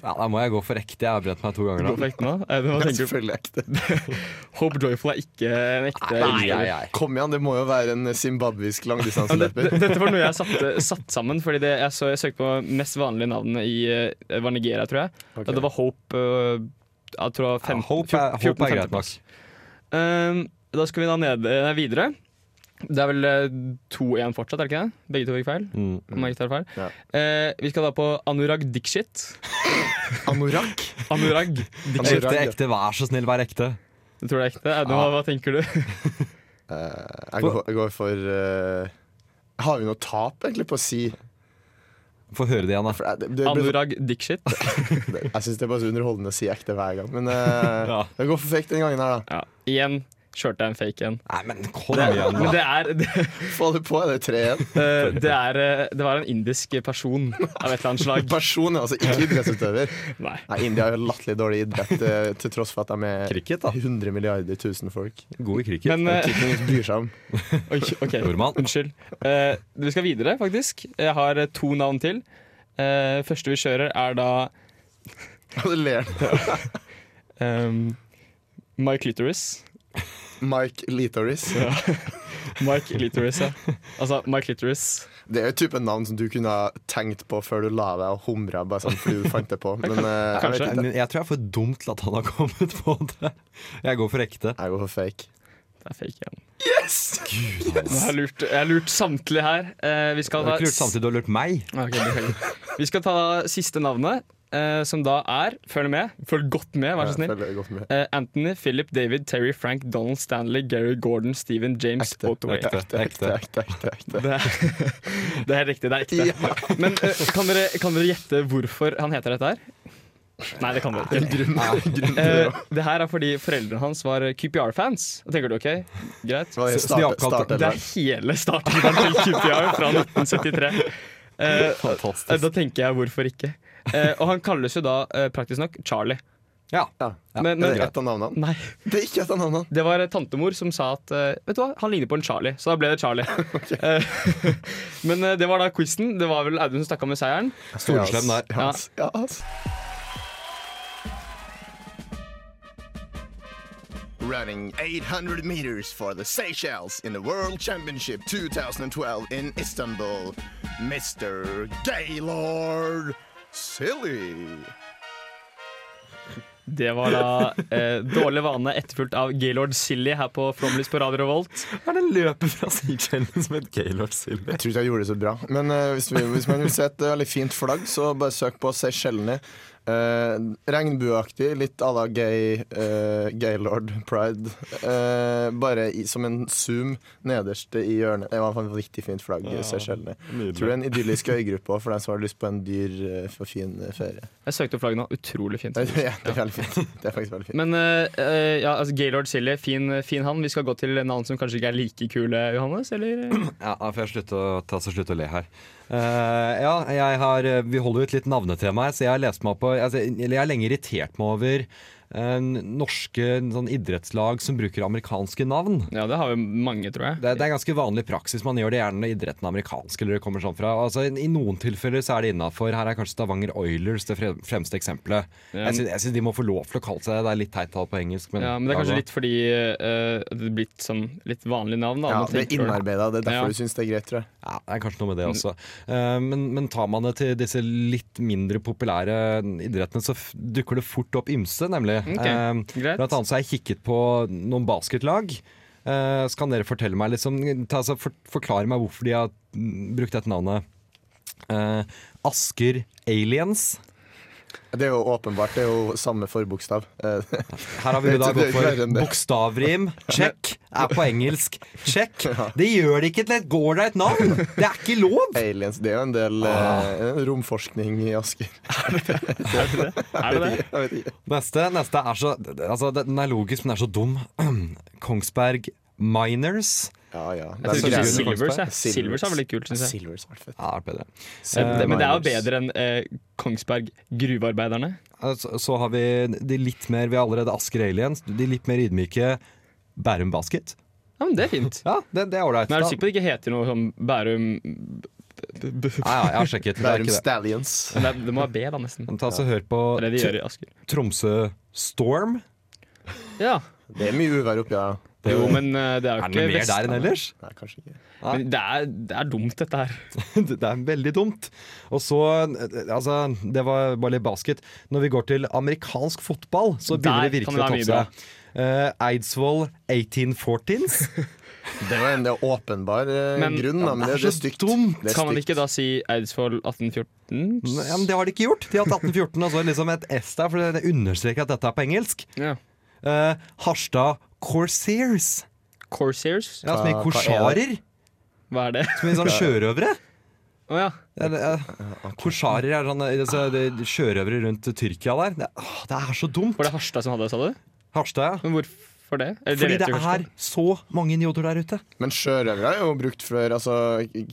Speaker 2: Ja, da må jeg gå for ekte. Jeg har brent meg to ganger
Speaker 1: Gå
Speaker 2: nå.
Speaker 1: for ekte nå. Eh, Hva
Speaker 3: Det er
Speaker 1: tenker du?
Speaker 3: Selvfølgelig ekte.
Speaker 1: Hope Joyful er ikke en ekte
Speaker 2: Nei,
Speaker 1: utgave.
Speaker 2: nei.
Speaker 3: Kom igjen, det må jo være en zimbabwisk langdistanseløper.
Speaker 1: Dette var noe jeg satte, satt sammen, fordi det, jeg, så, jeg søkte på mest vanlige navnene i eh, var Nigeria, tror jeg.
Speaker 3: Ok.
Speaker 1: Og det var Hope eh, Jeg tror det var
Speaker 2: Ja,
Speaker 1: 15,
Speaker 2: Hope er, hope er greit nok.
Speaker 1: Ehm, da skal vi da ned, eh, videre. Det er vel eh, 2-1 fortsatt, er det ikke det? Begge to fikk feil.
Speaker 2: Mm.
Speaker 1: Om jeg ikke tar feil.
Speaker 3: Ja.
Speaker 1: Eh, vi skal da på Anurag Dikshit.
Speaker 3: Anorakk?
Speaker 1: Anurag Dikshit.
Speaker 2: Ekte, ekte. Vær så snill, vær ekte.
Speaker 1: Du tror det er ekte? Audun, hva, hva tenker du?
Speaker 3: Jeg går, jeg går for eh, Har vi noe tap egentlig på å si?
Speaker 2: Få høre det igjen, da.
Speaker 3: For jeg det, det, blir- sånn-
Speaker 1: Anurag Dikshit.
Speaker 3: jeg syns det er bare så underholdende å si ekte hver gang. Men eh,
Speaker 2: Ja.
Speaker 3: jeg går for fake den gangen her, da.
Speaker 1: Ja. Igjen kjørte jeg en fake en.
Speaker 2: Nei, men kom igjen,
Speaker 1: Men
Speaker 2: da.
Speaker 1: det er det,
Speaker 3: Få det på, er det 3-1?
Speaker 1: eh, det, er, eh, det var en indisk person av et eller annet slag.
Speaker 3: Person er altså ikke idrettsutøver.
Speaker 1: Nei.
Speaker 3: Nei, India har jo latterlig dårlig idrett, eh, til tross for at de er
Speaker 2: Cricket, da.
Speaker 3: 100 milliarder tusen folk.
Speaker 2: God i cricket.
Speaker 1: Men eh,
Speaker 3: Ingen bryr seg om.
Speaker 1: ok, ok.
Speaker 2: Nordmann.
Speaker 1: unnskyld. Eh, vi skal videre, faktisk. Jeg har eh, to navn til. Eh, første vi kjører, er da
Speaker 3: Og det ler han.
Speaker 1: Um, my Ehm, clitoris.
Speaker 3: Mike Litoris.
Speaker 1: Mike Litoris, ja. Altså, Mike Litoris.
Speaker 3: Det er jo typen navn som du kunne ha tenkt på før du la deg og humra bare sånn fordi du fant det på. Men eh, jeg vet
Speaker 1: Kanskje.
Speaker 3: ikke.
Speaker 2: Men jeg tror jeg er for dum til at han har kommet på det. Jeg går for ekte.
Speaker 3: Jeg går for fake.
Speaker 1: Det er fake igjen.
Speaker 2: Gud, han.
Speaker 1: Jeg har lurt, jeg har lurt samtlige her. Eh, vi skal
Speaker 2: Du har
Speaker 1: ta
Speaker 2: ikke lurt samtidig, du har lurt meg.
Speaker 1: Ah, ok, beklager. Vi skal ta siste navnet, eh, som da er Følg med, følg godt med, vær så
Speaker 3: Jeg
Speaker 1: snill.
Speaker 3: følger godt med.
Speaker 1: Eh, Anthony, Philip, David, Terry, Frank, Donald Stanley, Gary, Gordon, Steven, James,
Speaker 3: Ekte.
Speaker 1: Otto Wade.
Speaker 2: Ekte, ekte.
Speaker 3: Ekte, ekte, ekte, ekte.
Speaker 1: Det er, det er riktig, det er ekte. Men eh, kan, dere, kan dere gjette hvorfor han heter dette her? Nei, det kan dere ikke. Eh, det her er fordi foreldrene hans var QPR-fans. Da tenker du OK, greit.
Speaker 3: Hva er det?
Speaker 2: Så- så de
Speaker 3: Starte-
Speaker 2: oppkalte-
Speaker 3: starte-
Speaker 1: Det er hele starten til QPR fra 1973. Eh,
Speaker 2: Fantastisk.
Speaker 1: Eh, Da tenker jeg hvorfor ikke. Eh, og han kalles jo da eh, praktisk nok Charlie.
Speaker 2: Ja.
Speaker 3: Ja.
Speaker 2: Ja,
Speaker 1: Men,
Speaker 3: Er
Speaker 1: men
Speaker 3: det ett av navnene?
Speaker 1: nei,
Speaker 3: Det er ikke ett av navnene.
Speaker 1: det var tantemor som sa at eh, Vet du hva, han ligner på en Charlie, så da ble det Charlie. Eh, men eh, det var da quizen. Det var vel Audun som stakk av med seieren.
Speaker 2: Storeslem der.
Speaker 3: Ja, ass. Ja, ass.
Speaker 4: Running 800 meters for the Seychelles in the World Championship 2012 in Istanbul, Mr. Gaylord Silly.
Speaker 1: Det var da eh, Dårlig vane etterfulgt av Gaylord Silly her på Flomlys på Radio Revolt.
Speaker 2: Hva er det løpet fra Seychellen som et Gaylord Silly?
Speaker 3: Jeg tror ikke jeg gjorde det så bra. Men eh, hvis, vi, hvis man vil se et eh, veldig fint flagg, så bare søk på Seychellene. Uh, regnbueaktig, litt à la gay, eh, gaylord pride. Eh, bare i, som en zoom nederst i hjørnet. Det var et riktig fint flagg. Ja, Seychellene. Tror det er en idyllisk øygruppe også, for deg som har lyst på en dyr eh, for fin eh, ferie.
Speaker 1: Jeg søkte opp flagget nå. Utrolig fint.
Speaker 3: Nei, det er det er veldig fint. Det er faktisk veldig fint.
Speaker 1: Men eh, eh, ja, altså Gaylord Silly, fin, fin han. Vi skal gå til navn som kanskje ikke er like kule, Johannes? Eller?
Speaker 2: Ja, da får jeg slutte å, ta så slutte å le her. Eh, ja, jeg har, vi holder jo et litt navnetema her, så jeg har lest meg opp på altså, Eller jeg har lenge irritert meg over eh, norske sånn, idrettslag som bruker amerikanske navn.
Speaker 1: Ja, det har vi mange, tror jeg.
Speaker 2: Det, det er ganske vanlig praksis. Man gjør det gjerne når idretten er amerikansk. eller det kommer sånn fra. Altså, I noen tilfeller så er det innafor. Her er kanskje Stavanger Oilers det fre- fremste eksempelet.
Speaker 1: Ja.
Speaker 2: Jeg syns- Jeg syns de må få lov til å kalle seg det. Det er litt teit tall på engelsk. Men,
Speaker 1: Ja, men det er
Speaker 2: Ja,
Speaker 1: kanskje
Speaker 2: da.
Speaker 1: litt fordi eh, det er blitt sånn litt vanlig navn. Da,
Speaker 3: Ja,
Speaker 1: Man
Speaker 3: det er
Speaker 1: tenker-
Speaker 3: innarbeida. Det er
Speaker 1: Ja.
Speaker 3: derfor du syns det er greit, tror jeg.
Speaker 2: Ja, det er kanskje noe med det også. Eh, Men, men tar man det til disse litt mindre populære idrettene, så f- dukker det fort opp ymse, nemlig.
Speaker 1: Ok,
Speaker 2: Eh,
Speaker 1: greit.
Speaker 2: Blant annet så har jeg kikket på noen basketlag. Eh, Så kan dere fortelle meg liksom, ta, altså, for, Forklare meg hvorfor de har mm, brukt dette navnet. Eh, Asker Aliens.
Speaker 3: Det er jo åpenbart. Det er jo samme forbokstav. Eh,
Speaker 2: Her har vi jo da
Speaker 3: Det- det
Speaker 2: gått
Speaker 3: er ikke verre
Speaker 2: for
Speaker 3: enn det.
Speaker 2: bokstavrim. Check. Er på engelsk. Check. Det gjør det ikke til et gårdeit navn! Det er ikke lov!
Speaker 3: Aliens, det er jo en del
Speaker 2: Ah.
Speaker 3: eh, romforskning i Asker.
Speaker 1: Er det det?
Speaker 3: Jeg vet ikke.
Speaker 2: Neste, neste er så altså, Den er logisk, men den er så dum. Kongsberg Miners.
Speaker 3: Ja, ja.
Speaker 1: Jeg
Speaker 2: så
Speaker 1: tror
Speaker 2: greit.
Speaker 1: kanskje
Speaker 2: Silver-
Speaker 1: Silvers, jeg.
Speaker 3: Silvers.
Speaker 1: Silvers er veldig kult, synes jeg.
Speaker 3: Silvers var fett.
Speaker 2: Ja, det er bedre.
Speaker 1: Eh, det- men det er jo
Speaker 3: Miners.
Speaker 1: bedre enn eh, Kongsberg Gruvearbeiderne.
Speaker 2: Eh, Så, så har vi de litt mer Vi har allerede Asker Aliens. De litt mer ydmyke Bærum Basket.
Speaker 1: Ja, men det er fint.
Speaker 2: Ja, det, det er ålreit.
Speaker 1: Men er du
Speaker 2: Da-
Speaker 1: sikker på at det ikke heter noe som Bærum b- b- b-
Speaker 2: Ja, ja, jeg har sjekket. Det er
Speaker 3: Bærum
Speaker 2: ikke det.
Speaker 3: Stallions.
Speaker 1: Men det, er- det må være B, da, nesten.
Speaker 2: Men Ta så Hør på
Speaker 1: Det er det de gjør i Asker.
Speaker 2: Tr- Tromsø Storm.
Speaker 1: Ja.
Speaker 3: Det er mye uvær oppi ja.
Speaker 1: Jo, men eh, det er jo
Speaker 2: Er det
Speaker 1: ikke
Speaker 2: noe mer der enn ellers?
Speaker 3: Nei, kanskje ikke.
Speaker 1: Men det er, det er dumt, dette her.
Speaker 2: Det er veldig dumt. Og så Altså, det var bare litt basket. Når vi går til amerikansk fotball, så begynner
Speaker 1: Der
Speaker 2: det
Speaker 1: kan
Speaker 2: virkelig å
Speaker 1: det
Speaker 2: toppe
Speaker 1: være mye
Speaker 2: seg. Eh, Eidsvoll 1814s.
Speaker 3: Det er jo en det er åpenbar eh,
Speaker 1: Men-
Speaker 3: grunn, da, men
Speaker 2: det
Speaker 3: det,
Speaker 2: er
Speaker 3: det er
Speaker 2: så
Speaker 3: stygt.
Speaker 2: dumt.
Speaker 3: Det er
Speaker 1: Kan man
Speaker 3: stygt.
Speaker 1: ikke da si Eidsvoll 1814?
Speaker 2: Ja, men det har de ikke gjort. De har hatt 1814 og så liksom et S der, for det understreker at dette er på engelsk.
Speaker 1: Ja.
Speaker 2: Eh, Harstad Corsairs.
Speaker 1: Corsairs?
Speaker 2: Ja, som i
Speaker 3: Hva- hva er
Speaker 2: korsarer.
Speaker 1: Hva er det?
Speaker 2: Som i sånne sjørøvere.
Speaker 1: Å ja.
Speaker 2: Ja, det er- Korsarer er sånne altså, det er sjørøvere rundt Tyrkia der. Det, åh, det er så dumt.
Speaker 1: Var det Harstad som hadde det, sa du?
Speaker 2: Harstad, ja.
Speaker 1: Men hvorfor det? Eller,
Speaker 2: Fordi
Speaker 1: vet
Speaker 2: det
Speaker 1: vi kanskje
Speaker 2: er
Speaker 1: ikke.
Speaker 2: så mange idioter der ute.
Speaker 3: Men sjørøvere er jo brukt før. Altså,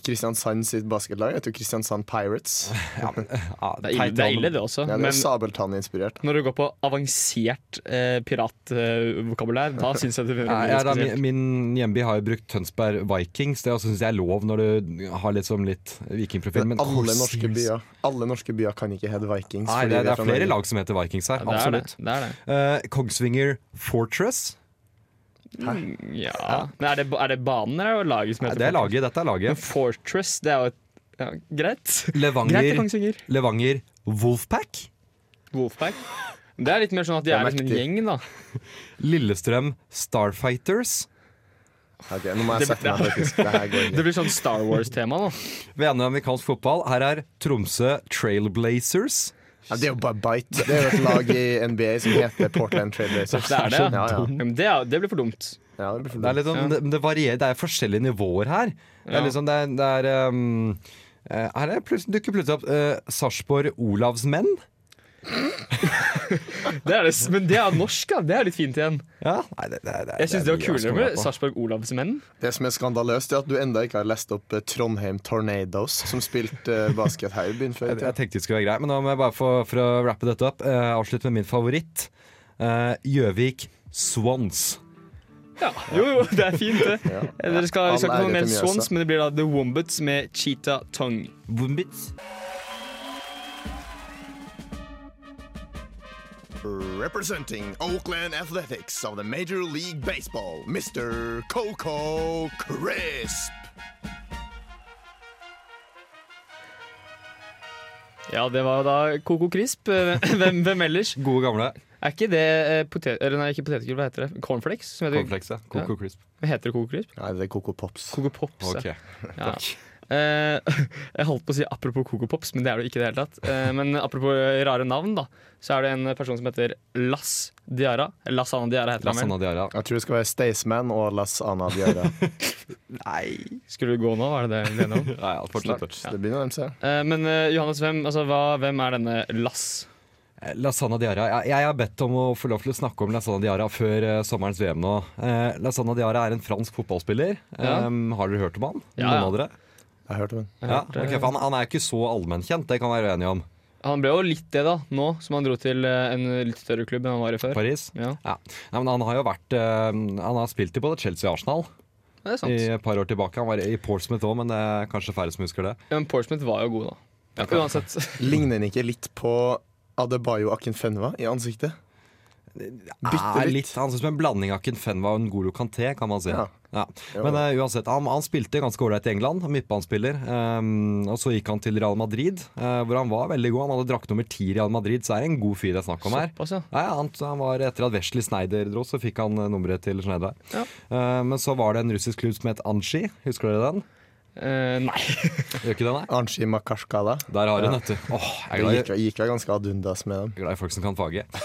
Speaker 3: Kristiansand sitt basketlag heter jo Kristiansand Pirates.
Speaker 2: Ja, men, ja,
Speaker 1: det er ille, det, er ille det også.
Speaker 3: Ja, det er
Speaker 1: men
Speaker 3: Sabeltann-inspirert.
Speaker 1: når du går på avansert eh, piratvokabulær, da syns jeg det blir
Speaker 2: Ja,
Speaker 1: veldig
Speaker 2: ja, da,
Speaker 1: spesielt.
Speaker 2: min, min hjemby har jo brukt Tønsberg Vikings. Det syns jeg er lov når du har liksom litt vikingprofil. Men
Speaker 3: Alle
Speaker 2: Corsairs-
Speaker 3: norske, byer, alle norske byer kan ikke hete Vikings.
Speaker 2: Nei,
Speaker 3: fordi
Speaker 2: det,
Speaker 3: vi
Speaker 2: det
Speaker 3: er
Speaker 2: er
Speaker 3: fra
Speaker 2: flere
Speaker 3: Norge.
Speaker 2: lag som heter Vikings her.
Speaker 1: Ja, det er det.
Speaker 2: Absolutt.
Speaker 1: det, er det.
Speaker 2: Eh, Kongsvinger Fortress.
Speaker 1: Ja. Men er det, er det banen eller er det laget som
Speaker 2: Nei,
Speaker 1: heter
Speaker 2: Det er
Speaker 1: Fortress?
Speaker 2: laget, dette er
Speaker 1: Men
Speaker 2: laget.
Speaker 1: Fortress, det er jo et ja, Greit. Greit til
Speaker 2: Levanger,
Speaker 1: Kongsvinger.
Speaker 2: Levanger Wolfpack.
Speaker 1: Wolfpack. Det er litt mer sånn at de
Speaker 3: Det er
Speaker 1: er liksom en
Speaker 3: mektig.
Speaker 1: gjeng, da.
Speaker 2: Lillestrøm Starfighters.
Speaker 3: Ok, nå må jeg
Speaker 1: Det-
Speaker 3: sette meg faktisk. Det her går
Speaker 1: Det
Speaker 3: ikke.
Speaker 1: blir sånn Star Wars-tema nå.
Speaker 2: Venner av amerikansk fotball. Her er Tromsø Trailblazers.
Speaker 3: Ja, det er jo bare bite. Det er jo et lag i NBA som heter Portland Trailblazers.
Speaker 1: Det er det,
Speaker 2: Sånn,
Speaker 3: ja.
Speaker 1: ja.
Speaker 3: ja.
Speaker 1: Men det, er, det blir for dumt.
Speaker 3: ja det blir for
Speaker 2: Det er, litt sånn, det, det varierer, det er forskjellige nivåer her. Det
Speaker 1: Ja.
Speaker 2: er liksom, det er, det er um, eh, her er plutselig, dukker plutselig opp eh, Sarpsborg Olavs menn.
Speaker 1: Det er det, s- men det er norsk, da. Det er litt fint igjen.
Speaker 2: Ja, nei, det, det, det,
Speaker 1: Jeg syns det var
Speaker 2: mye å
Speaker 1: kulere
Speaker 2: komme
Speaker 1: med
Speaker 2: på.
Speaker 1: Sarpsborg Olavs menn.
Speaker 3: Det som er skandaløst, er at du enda ikke har lest opp eh, Trondheim Tornadoes, som spilte eh, basket her i byen før. i
Speaker 2: Jeg,
Speaker 3: tida.
Speaker 2: jeg tenkte det skulle være greit, men da må jeg bare få for å rappe dette opp. eh, avslutte med min favoritt. Eh, Gjøvik Swans.
Speaker 1: Ja, jo, jo, det er fint, det. Dere skal, vi skal
Speaker 3: All
Speaker 1: ikke få
Speaker 3: ære
Speaker 1: mer
Speaker 3: til Mjøsa.
Speaker 1: Swans, men det blir da The Wombats med Cheetah Tongue.
Speaker 2: Wombits.
Speaker 4: Representing Oakland Athletics of the Major League Baseball, Mr. Coco Crisp.
Speaker 1: Ja, det var da Coco Crisp. Eh, Hvem, hvem ellers?
Speaker 2: Gode gamle.
Speaker 1: Er ikke det eh, potet... Eller nei, ikke potetgull, hva heter det? Cornflakes? Som heter,
Speaker 2: Cornflakes, ja. Coco Crisp.
Speaker 1: Hva heter det Coco Crisp?
Speaker 3: Nei, det er Coco Pops.
Speaker 1: Coco Pops,
Speaker 2: Ok.
Speaker 1: ja. Eh, jeg holdt på å si apropos Coco Pops, men det er det jo ikke i det hele tatt. Eh, men apropos rare navn, da, så er det en person som heter Lass Diara. Lassana Diara heter han vel.
Speaker 2: Lassana Diara.
Speaker 3: Jeg tror det skal være Staysman og Las Ana Diara.
Speaker 1: Nei. Skulle du gå nå, var det det vi ble enige om?
Speaker 2: Ja, ja, fortsett.
Speaker 3: Det begynner å nærme seg.
Speaker 1: Eh, men eh, Johannes, hvem, altså, hva, hvem er denne Lass?
Speaker 2: Eh, Lasagna Diara. Jeg, jeg har bedt om å få lov til å snakke om Lasagna Diara før eh, sommerens VM nå. Eh, Lasagna Diara er en fransk fotballspiller.
Speaker 1: Ja.
Speaker 2: Em, har dere hørt om han?
Speaker 1: Ja,
Speaker 2: Noen
Speaker 1: ja.
Speaker 2: av dere?
Speaker 3: Jeg har hørt om den.
Speaker 2: Ja,
Speaker 1: hørte-
Speaker 2: ok, for han, han er ikke så allmennkjent, det kan vi være enige om.
Speaker 1: Han ble jo litt det, da, nå som han dro til eh, en litt større klubb enn han var i før.
Speaker 2: Paris?
Speaker 1: Ja,
Speaker 2: Ja. Nei, men han har jo vært eh, Han har spilt i både Chelsea og Arsenal
Speaker 1: det er sant.
Speaker 2: i et par år tilbake. Han var i Portsmouth òg, men det er kanskje færre som husker det.
Speaker 1: Ja, Men Portsmouth var jo god, da. Ja, uansett.
Speaker 3: Ligner den ikke litt på Adebayo Akinfenwa i ansiktet? Bitte
Speaker 2: Er Ah, litt,
Speaker 3: litt.
Speaker 2: han synes som en blanding av Kenfenwa og Ngolo Kanté, kan man si. Ja.
Speaker 3: Ja.
Speaker 2: Men eh, uansett, han, han spilte ganske ålreit i England, han midtbanespiller. Ehm, og så gikk han til Real Madrid, eh, hvor han var veldig god. Han hadde drakt nummer ti i Real Madrid, så er det en god fyr det er snakk om her.
Speaker 1: Såpass, ja.
Speaker 2: Ja, ja, han, han var Etter at Wesley Sneijder dro, så fikk han eh, nummeret til Sneijder.
Speaker 1: Ja.
Speaker 2: Eh, men så var det en russisk klubb som het Anshi. Husker dere den?
Speaker 1: Eh, nei.
Speaker 2: Gjør ikke den, nei?
Speaker 3: Anshi Makashkala.
Speaker 2: Der har hun, vet du. Åh, jeg er
Speaker 3: Det
Speaker 2: glad i-
Speaker 3: gikk, gikk vel ganske ad undas med dem.
Speaker 2: jeg er glad i folk som kan faget.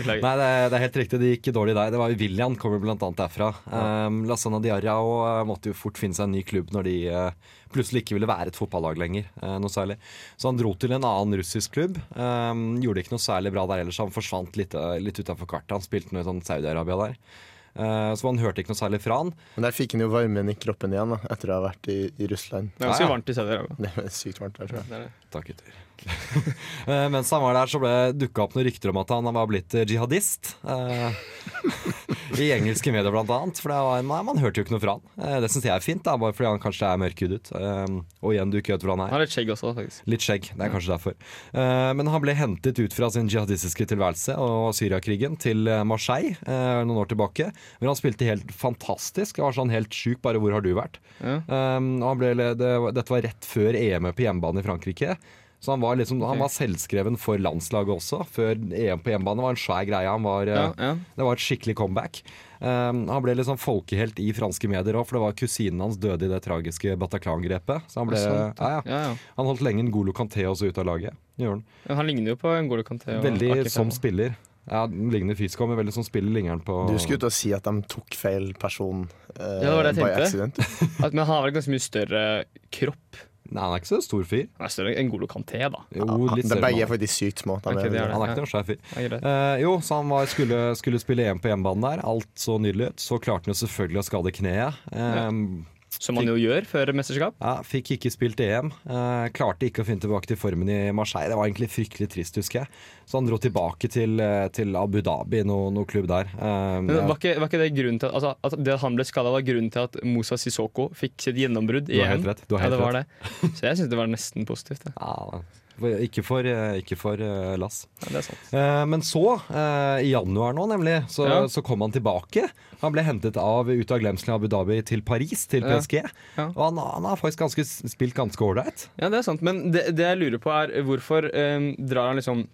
Speaker 1: Beklager.
Speaker 2: Nei, det, det er helt riktig. Det gikk dårlig der. Det var jo William kommer blant annet derfra. Um, Lassana Diarra og, eh, måtte jo fort finne seg en ny klubb når de eh, plutselig ikke ville være et fotballag lenger. eh, noe særlig. Så han dro til en annen russisk klubb. Um, gjorde ikke noe særlig bra der ellers. Han forsvant litt, eh, litt utafor kartet. Han spilte noe i sånn Saudi-Arabia der. Eh, så man hørte ikke noe særlig fra han.
Speaker 3: Men der fikk han jo varmen i kroppen igjen, da, etter å ha vært i, i Russland.
Speaker 1: Det er
Speaker 2: Ja,
Speaker 1: ganske
Speaker 2: ja.
Speaker 1: varmt i Saudi-Arabia.
Speaker 3: Det er sykt varmt der, tror jeg.
Speaker 2: Takk, gutter. Eh, mens han var der, så ble dukka opp noen rykter om at han var blitt eh, jihadist. eh, I engelske medier, blant annet. For det var, nei, man hørte jo ikke noe fra han. Eh, det syns jeg er fint, da, bare fordi han kanskje er mørkhudet. eh, og igjen, du ikke vet hvor han
Speaker 1: Han
Speaker 2: er.
Speaker 1: har litt skjegg også, faktisk.
Speaker 2: Litt skjegg, det er kanskje derfor. Eh, men han ble hentet ut fra sin jihadistiske tilværelse og Syriakrigen til eh, Marseille eh, noen år tilbake. Hvor han spilte helt fantastisk. Det var sånn helt sjukt, bare 'hvor har du vært'? Um, og han ble, det, dette var rett før EM på hjemmebane i Frankrike. Så han var, liksom, han var selvskreven for landslaget også. Før EM på hjemmebane var en svær greie. Han var,
Speaker 1: Ja,
Speaker 2: eh,
Speaker 1: ja.
Speaker 2: Det var et skikkelig comeback. Um, han ble liksom folkehelt i franske medier òg, for det var kusinen hans døde i det tragiske Bataclan-grepet. Så han ble
Speaker 1: Sant,
Speaker 2: ja, ja.
Speaker 1: Ja, ja.
Speaker 2: Han holdt lenge en Golo Kanté også ut av laget. Det gjorde han.
Speaker 1: Men Han ligner jo på Ngolo Kanté. og
Speaker 2: Veldig
Speaker 1: Aki
Speaker 2: som
Speaker 1: Fenwa.
Speaker 2: spiller. Ja, den Ligner fysisk også, men veldig som spiller ligner han på
Speaker 3: Du skulle ut og si at de tok feil person eh,
Speaker 1: Ja, det var det jeg
Speaker 3: by
Speaker 1: tenkte.
Speaker 3: accident.
Speaker 1: At- Men han har vel ganske mye større kropp.
Speaker 2: Nei, han er ikke så stor fyr.
Speaker 1: Han er større enn Ngolo Kanté, da.
Speaker 2: Jo, litt
Speaker 3: De
Speaker 2: større.
Speaker 3: begge
Speaker 2: mann.
Speaker 3: er faktisk sykt små. De
Speaker 1: Oh, Ok, det
Speaker 3: er
Speaker 1: er
Speaker 3: veldig-
Speaker 2: Han er ikke noen svær fyr.
Speaker 1: Ja, greit.
Speaker 2: Eh, jo, så han var, skulle, skulle spille EM på hjemmebane der. Alt så nydelig ut. Så klarte han jo selvfølgelig å skade kneet. Eh,
Speaker 1: Som han jo gjør før mesterskap.
Speaker 2: ja, fikk ikke spilt EM. Eh, klarte ikke å finne tilbake til formen i Marseille. Det var egentlig fryktelig trist, husker jeg. Så han dro tilbake til, eh, til Abu Dhabi, noe, noe klubb der. Eh,
Speaker 1: Men
Speaker 2: ja.
Speaker 1: var ikke, var ikke det grunnen til at, altså, at det at han ble skada, var grunnen til at Moussa Sissoko fikk sitt gjennombrudd
Speaker 2: Du har
Speaker 1: igjen?
Speaker 2: helt rett, du har helt
Speaker 1: ja, det var det. Så jeg syns det var nesten positivt. Det.
Speaker 2: Ja, Ikke for, eh, ikke for eh, Lass.
Speaker 1: Ja, det er sant.
Speaker 2: Eh, Men så, eh, i januar nå nemlig, så,
Speaker 1: Ja.
Speaker 2: så kom han tilbake. Han ble hentet av ut av glemselen i Abu Dhabi til Paris, til
Speaker 1: Ja.
Speaker 2: PSG.
Speaker 1: Ja.
Speaker 2: Og han, han har faktisk ganske, spilt ganske ålreit.
Speaker 1: Ja, det er sant. Men det, det jeg lurer på, er hvorfor eh, drar han liksom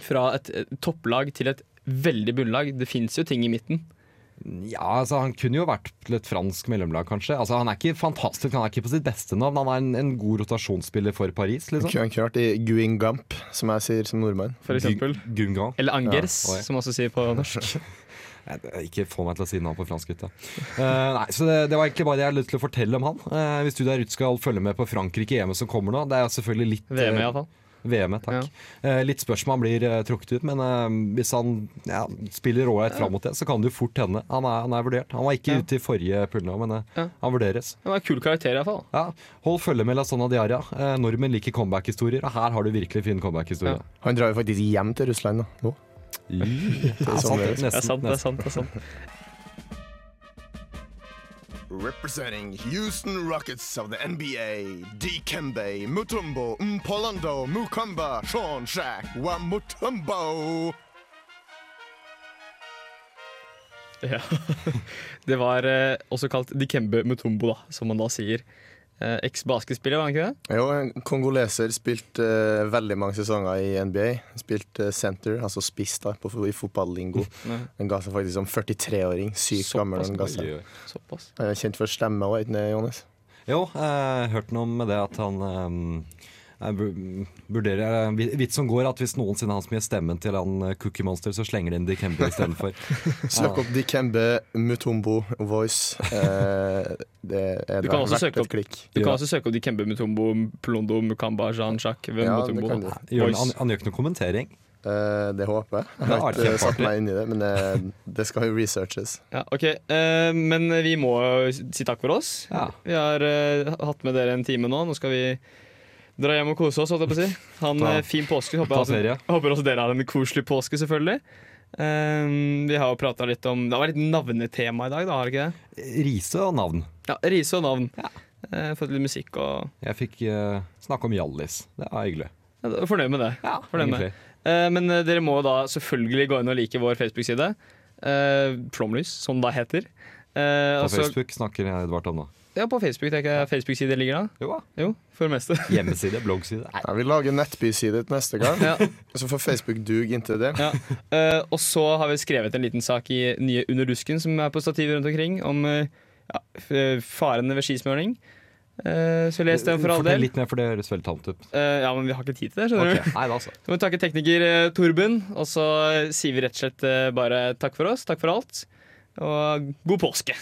Speaker 1: fra et, et topplag til et veldig bunnlag? Det fins jo ting i midten.
Speaker 2: Ja, altså Han kunne jo vært til et fransk mellomlag, kanskje. Altså Han er ikke fantastisk, han er ikke på sitt beste navn. Han er en, en god rotasjonsspiller for Paris,
Speaker 3: Han
Speaker 2: liksom.
Speaker 3: kunne ikke vært i Guingamp, som jeg sier som nordmann.
Speaker 1: For eksempel.
Speaker 2: Gungan.
Speaker 1: Eller Angers,
Speaker 2: Ja, oi.
Speaker 1: som også sier på norsk.
Speaker 2: Nei, det- Ikke få meg til å si navn på fransk, gutta. Eh, nei, så det, det var egentlig bare det jeg hadde lyst til å fortelle om han. Eh, hvis du der ute skal følge med på Frankrike i EM som kommer nå, det er selvfølgelig litt eh,
Speaker 1: VM, iallfall.
Speaker 2: VM, takk. Eh, litt spørsmål blir eh, trukket ut, men eh, hvis han ja, spiller ålreit fram mot det, så kan det jo fort hende. Han er, han er vurdert. Han var ikke
Speaker 1: Ja.
Speaker 2: ute i forrige pull nå, men eh,
Speaker 1: Ja.
Speaker 2: han vurderes.
Speaker 1: Han har en kul karakter, iallfall.
Speaker 2: Ja, Hold følge med Lasana Diaria. Eh, nordmenn liker comeback-historier, og her har du virkelig fin comeback-historie.
Speaker 1: Ja.
Speaker 3: Han drar jo faktisk hjem til Russland da, nå.
Speaker 2: Ja. sant,
Speaker 3: sommer.
Speaker 2: nesten,
Speaker 1: sånn Det er sant, det er
Speaker 2: nesten.
Speaker 1: sant. det er sant
Speaker 4: Representing Houston Rockets of the NBA, Dikembe, Mutombo, Mpolando, Mukamba, Sean Shack, Wamutombo.
Speaker 1: Ja. Det var eh, også kalt Dikembe Mutombo, da, som man da sier. Eh, Eks-basketspiller, var han ikke det?
Speaker 3: Jo, en kongoleser spilte eh, veldig mange sesonger i NBA. Spilte eh, center, altså spiss da, på, i fotballingo. Han ga seg faktisk som 43-åring. Sykt gammel.
Speaker 1: Såpass
Speaker 3: Han ga seg.
Speaker 2: Oi, oi.
Speaker 1: Såpass.
Speaker 3: Han er kjent for stemme òg, ikke det, Johannes?
Speaker 2: Jo, eh, hørte noe om det at han eh, jeg vur- vurderer eh, en Vits som går at hvis noensinne han som gir stemmen til han eh, Cookie Monster, så slenger de inn Dikembe istedenfor.
Speaker 1: Ah.
Speaker 3: Søk opp Dikembe Mutombo Voice. Eh, det er
Speaker 1: Du
Speaker 3: da
Speaker 1: kan også
Speaker 3: verdt
Speaker 1: søke opp-
Speaker 3: et klikk.
Speaker 1: Du kan
Speaker 2: Ja.
Speaker 1: også søke opp Dikembe Mutombo, Plondo, Mukamba, Jean-Jacques
Speaker 3: Ja, det
Speaker 1: Mutombo.
Speaker 3: kan du.
Speaker 1: da.
Speaker 2: Gjør,
Speaker 1: Voice.
Speaker 2: han, han gjør ikke noe kommentering.
Speaker 3: Eh, det håper jeg.
Speaker 2: Det er
Speaker 3: Jeg har ikke
Speaker 2: artig.
Speaker 3: eh, satt meg inn i det, men eh, det skal jo researches.
Speaker 1: Ja, ok, eh, Men vi må si takk for oss.
Speaker 2: Ja.
Speaker 1: Vi har eh, hatt med dere en time nå. Nå skal vi dra hjem og kose oss. Holdt jeg på å si. Ha en
Speaker 2: Ta-
Speaker 1: eh, fin påske.
Speaker 2: ta
Speaker 1: Håper, jeg
Speaker 2: ferie.
Speaker 1: også, håper også dere har en koselig påske, selvfølgelig. Eh, vi har jo prata litt om Det var litt navnetema i dag, da, har det ikke det?
Speaker 2: Rise og navn.
Speaker 1: Ja, Rise og navn. Eh, fått litt musikk og
Speaker 2: Jeg fikk eh, snakke om Hjallis. Det er hyggelig.
Speaker 1: ja, da- Fornøyd med det.
Speaker 2: Ja,
Speaker 1: fornøyd med. Eh, men eh, dere må da selvfølgelig gå inn og like vår Facebook-side. Eh, Flomlys, som den da heter. Eh,
Speaker 2: På
Speaker 1: og så-
Speaker 2: Facebook snakker jeg Edvard om nå.
Speaker 1: Ja, på Facebook, tenker jeg. Facebook-side ligger da.
Speaker 2: Jo da.
Speaker 1: Jo, for det meste.
Speaker 2: Hjemmeside, bloggside. Nei.
Speaker 3: Ja, vi lager nettbyside til neste gang,
Speaker 1: Ja.
Speaker 3: så får Facebook duge inntil det.
Speaker 1: Ja. Eh, og så har vi skrevet en liten sak i nye Under dusken, som er på stativet rundt omkring, om eh, ja, f- eh, farene ved skismøring. Eh, så les den for all
Speaker 2: Fortell
Speaker 1: del.
Speaker 2: litt mer, for det høres veldig tamt ut.
Speaker 1: Eh, ja, men vi har ikke tid til det, skjønner
Speaker 2: Ok,
Speaker 1: du.
Speaker 2: Nei da, altså.
Speaker 1: Så må vi takke tekniker eh, Torben, og så sier vi rett og slett eh, bare takk for oss, takk for alt, og god påske.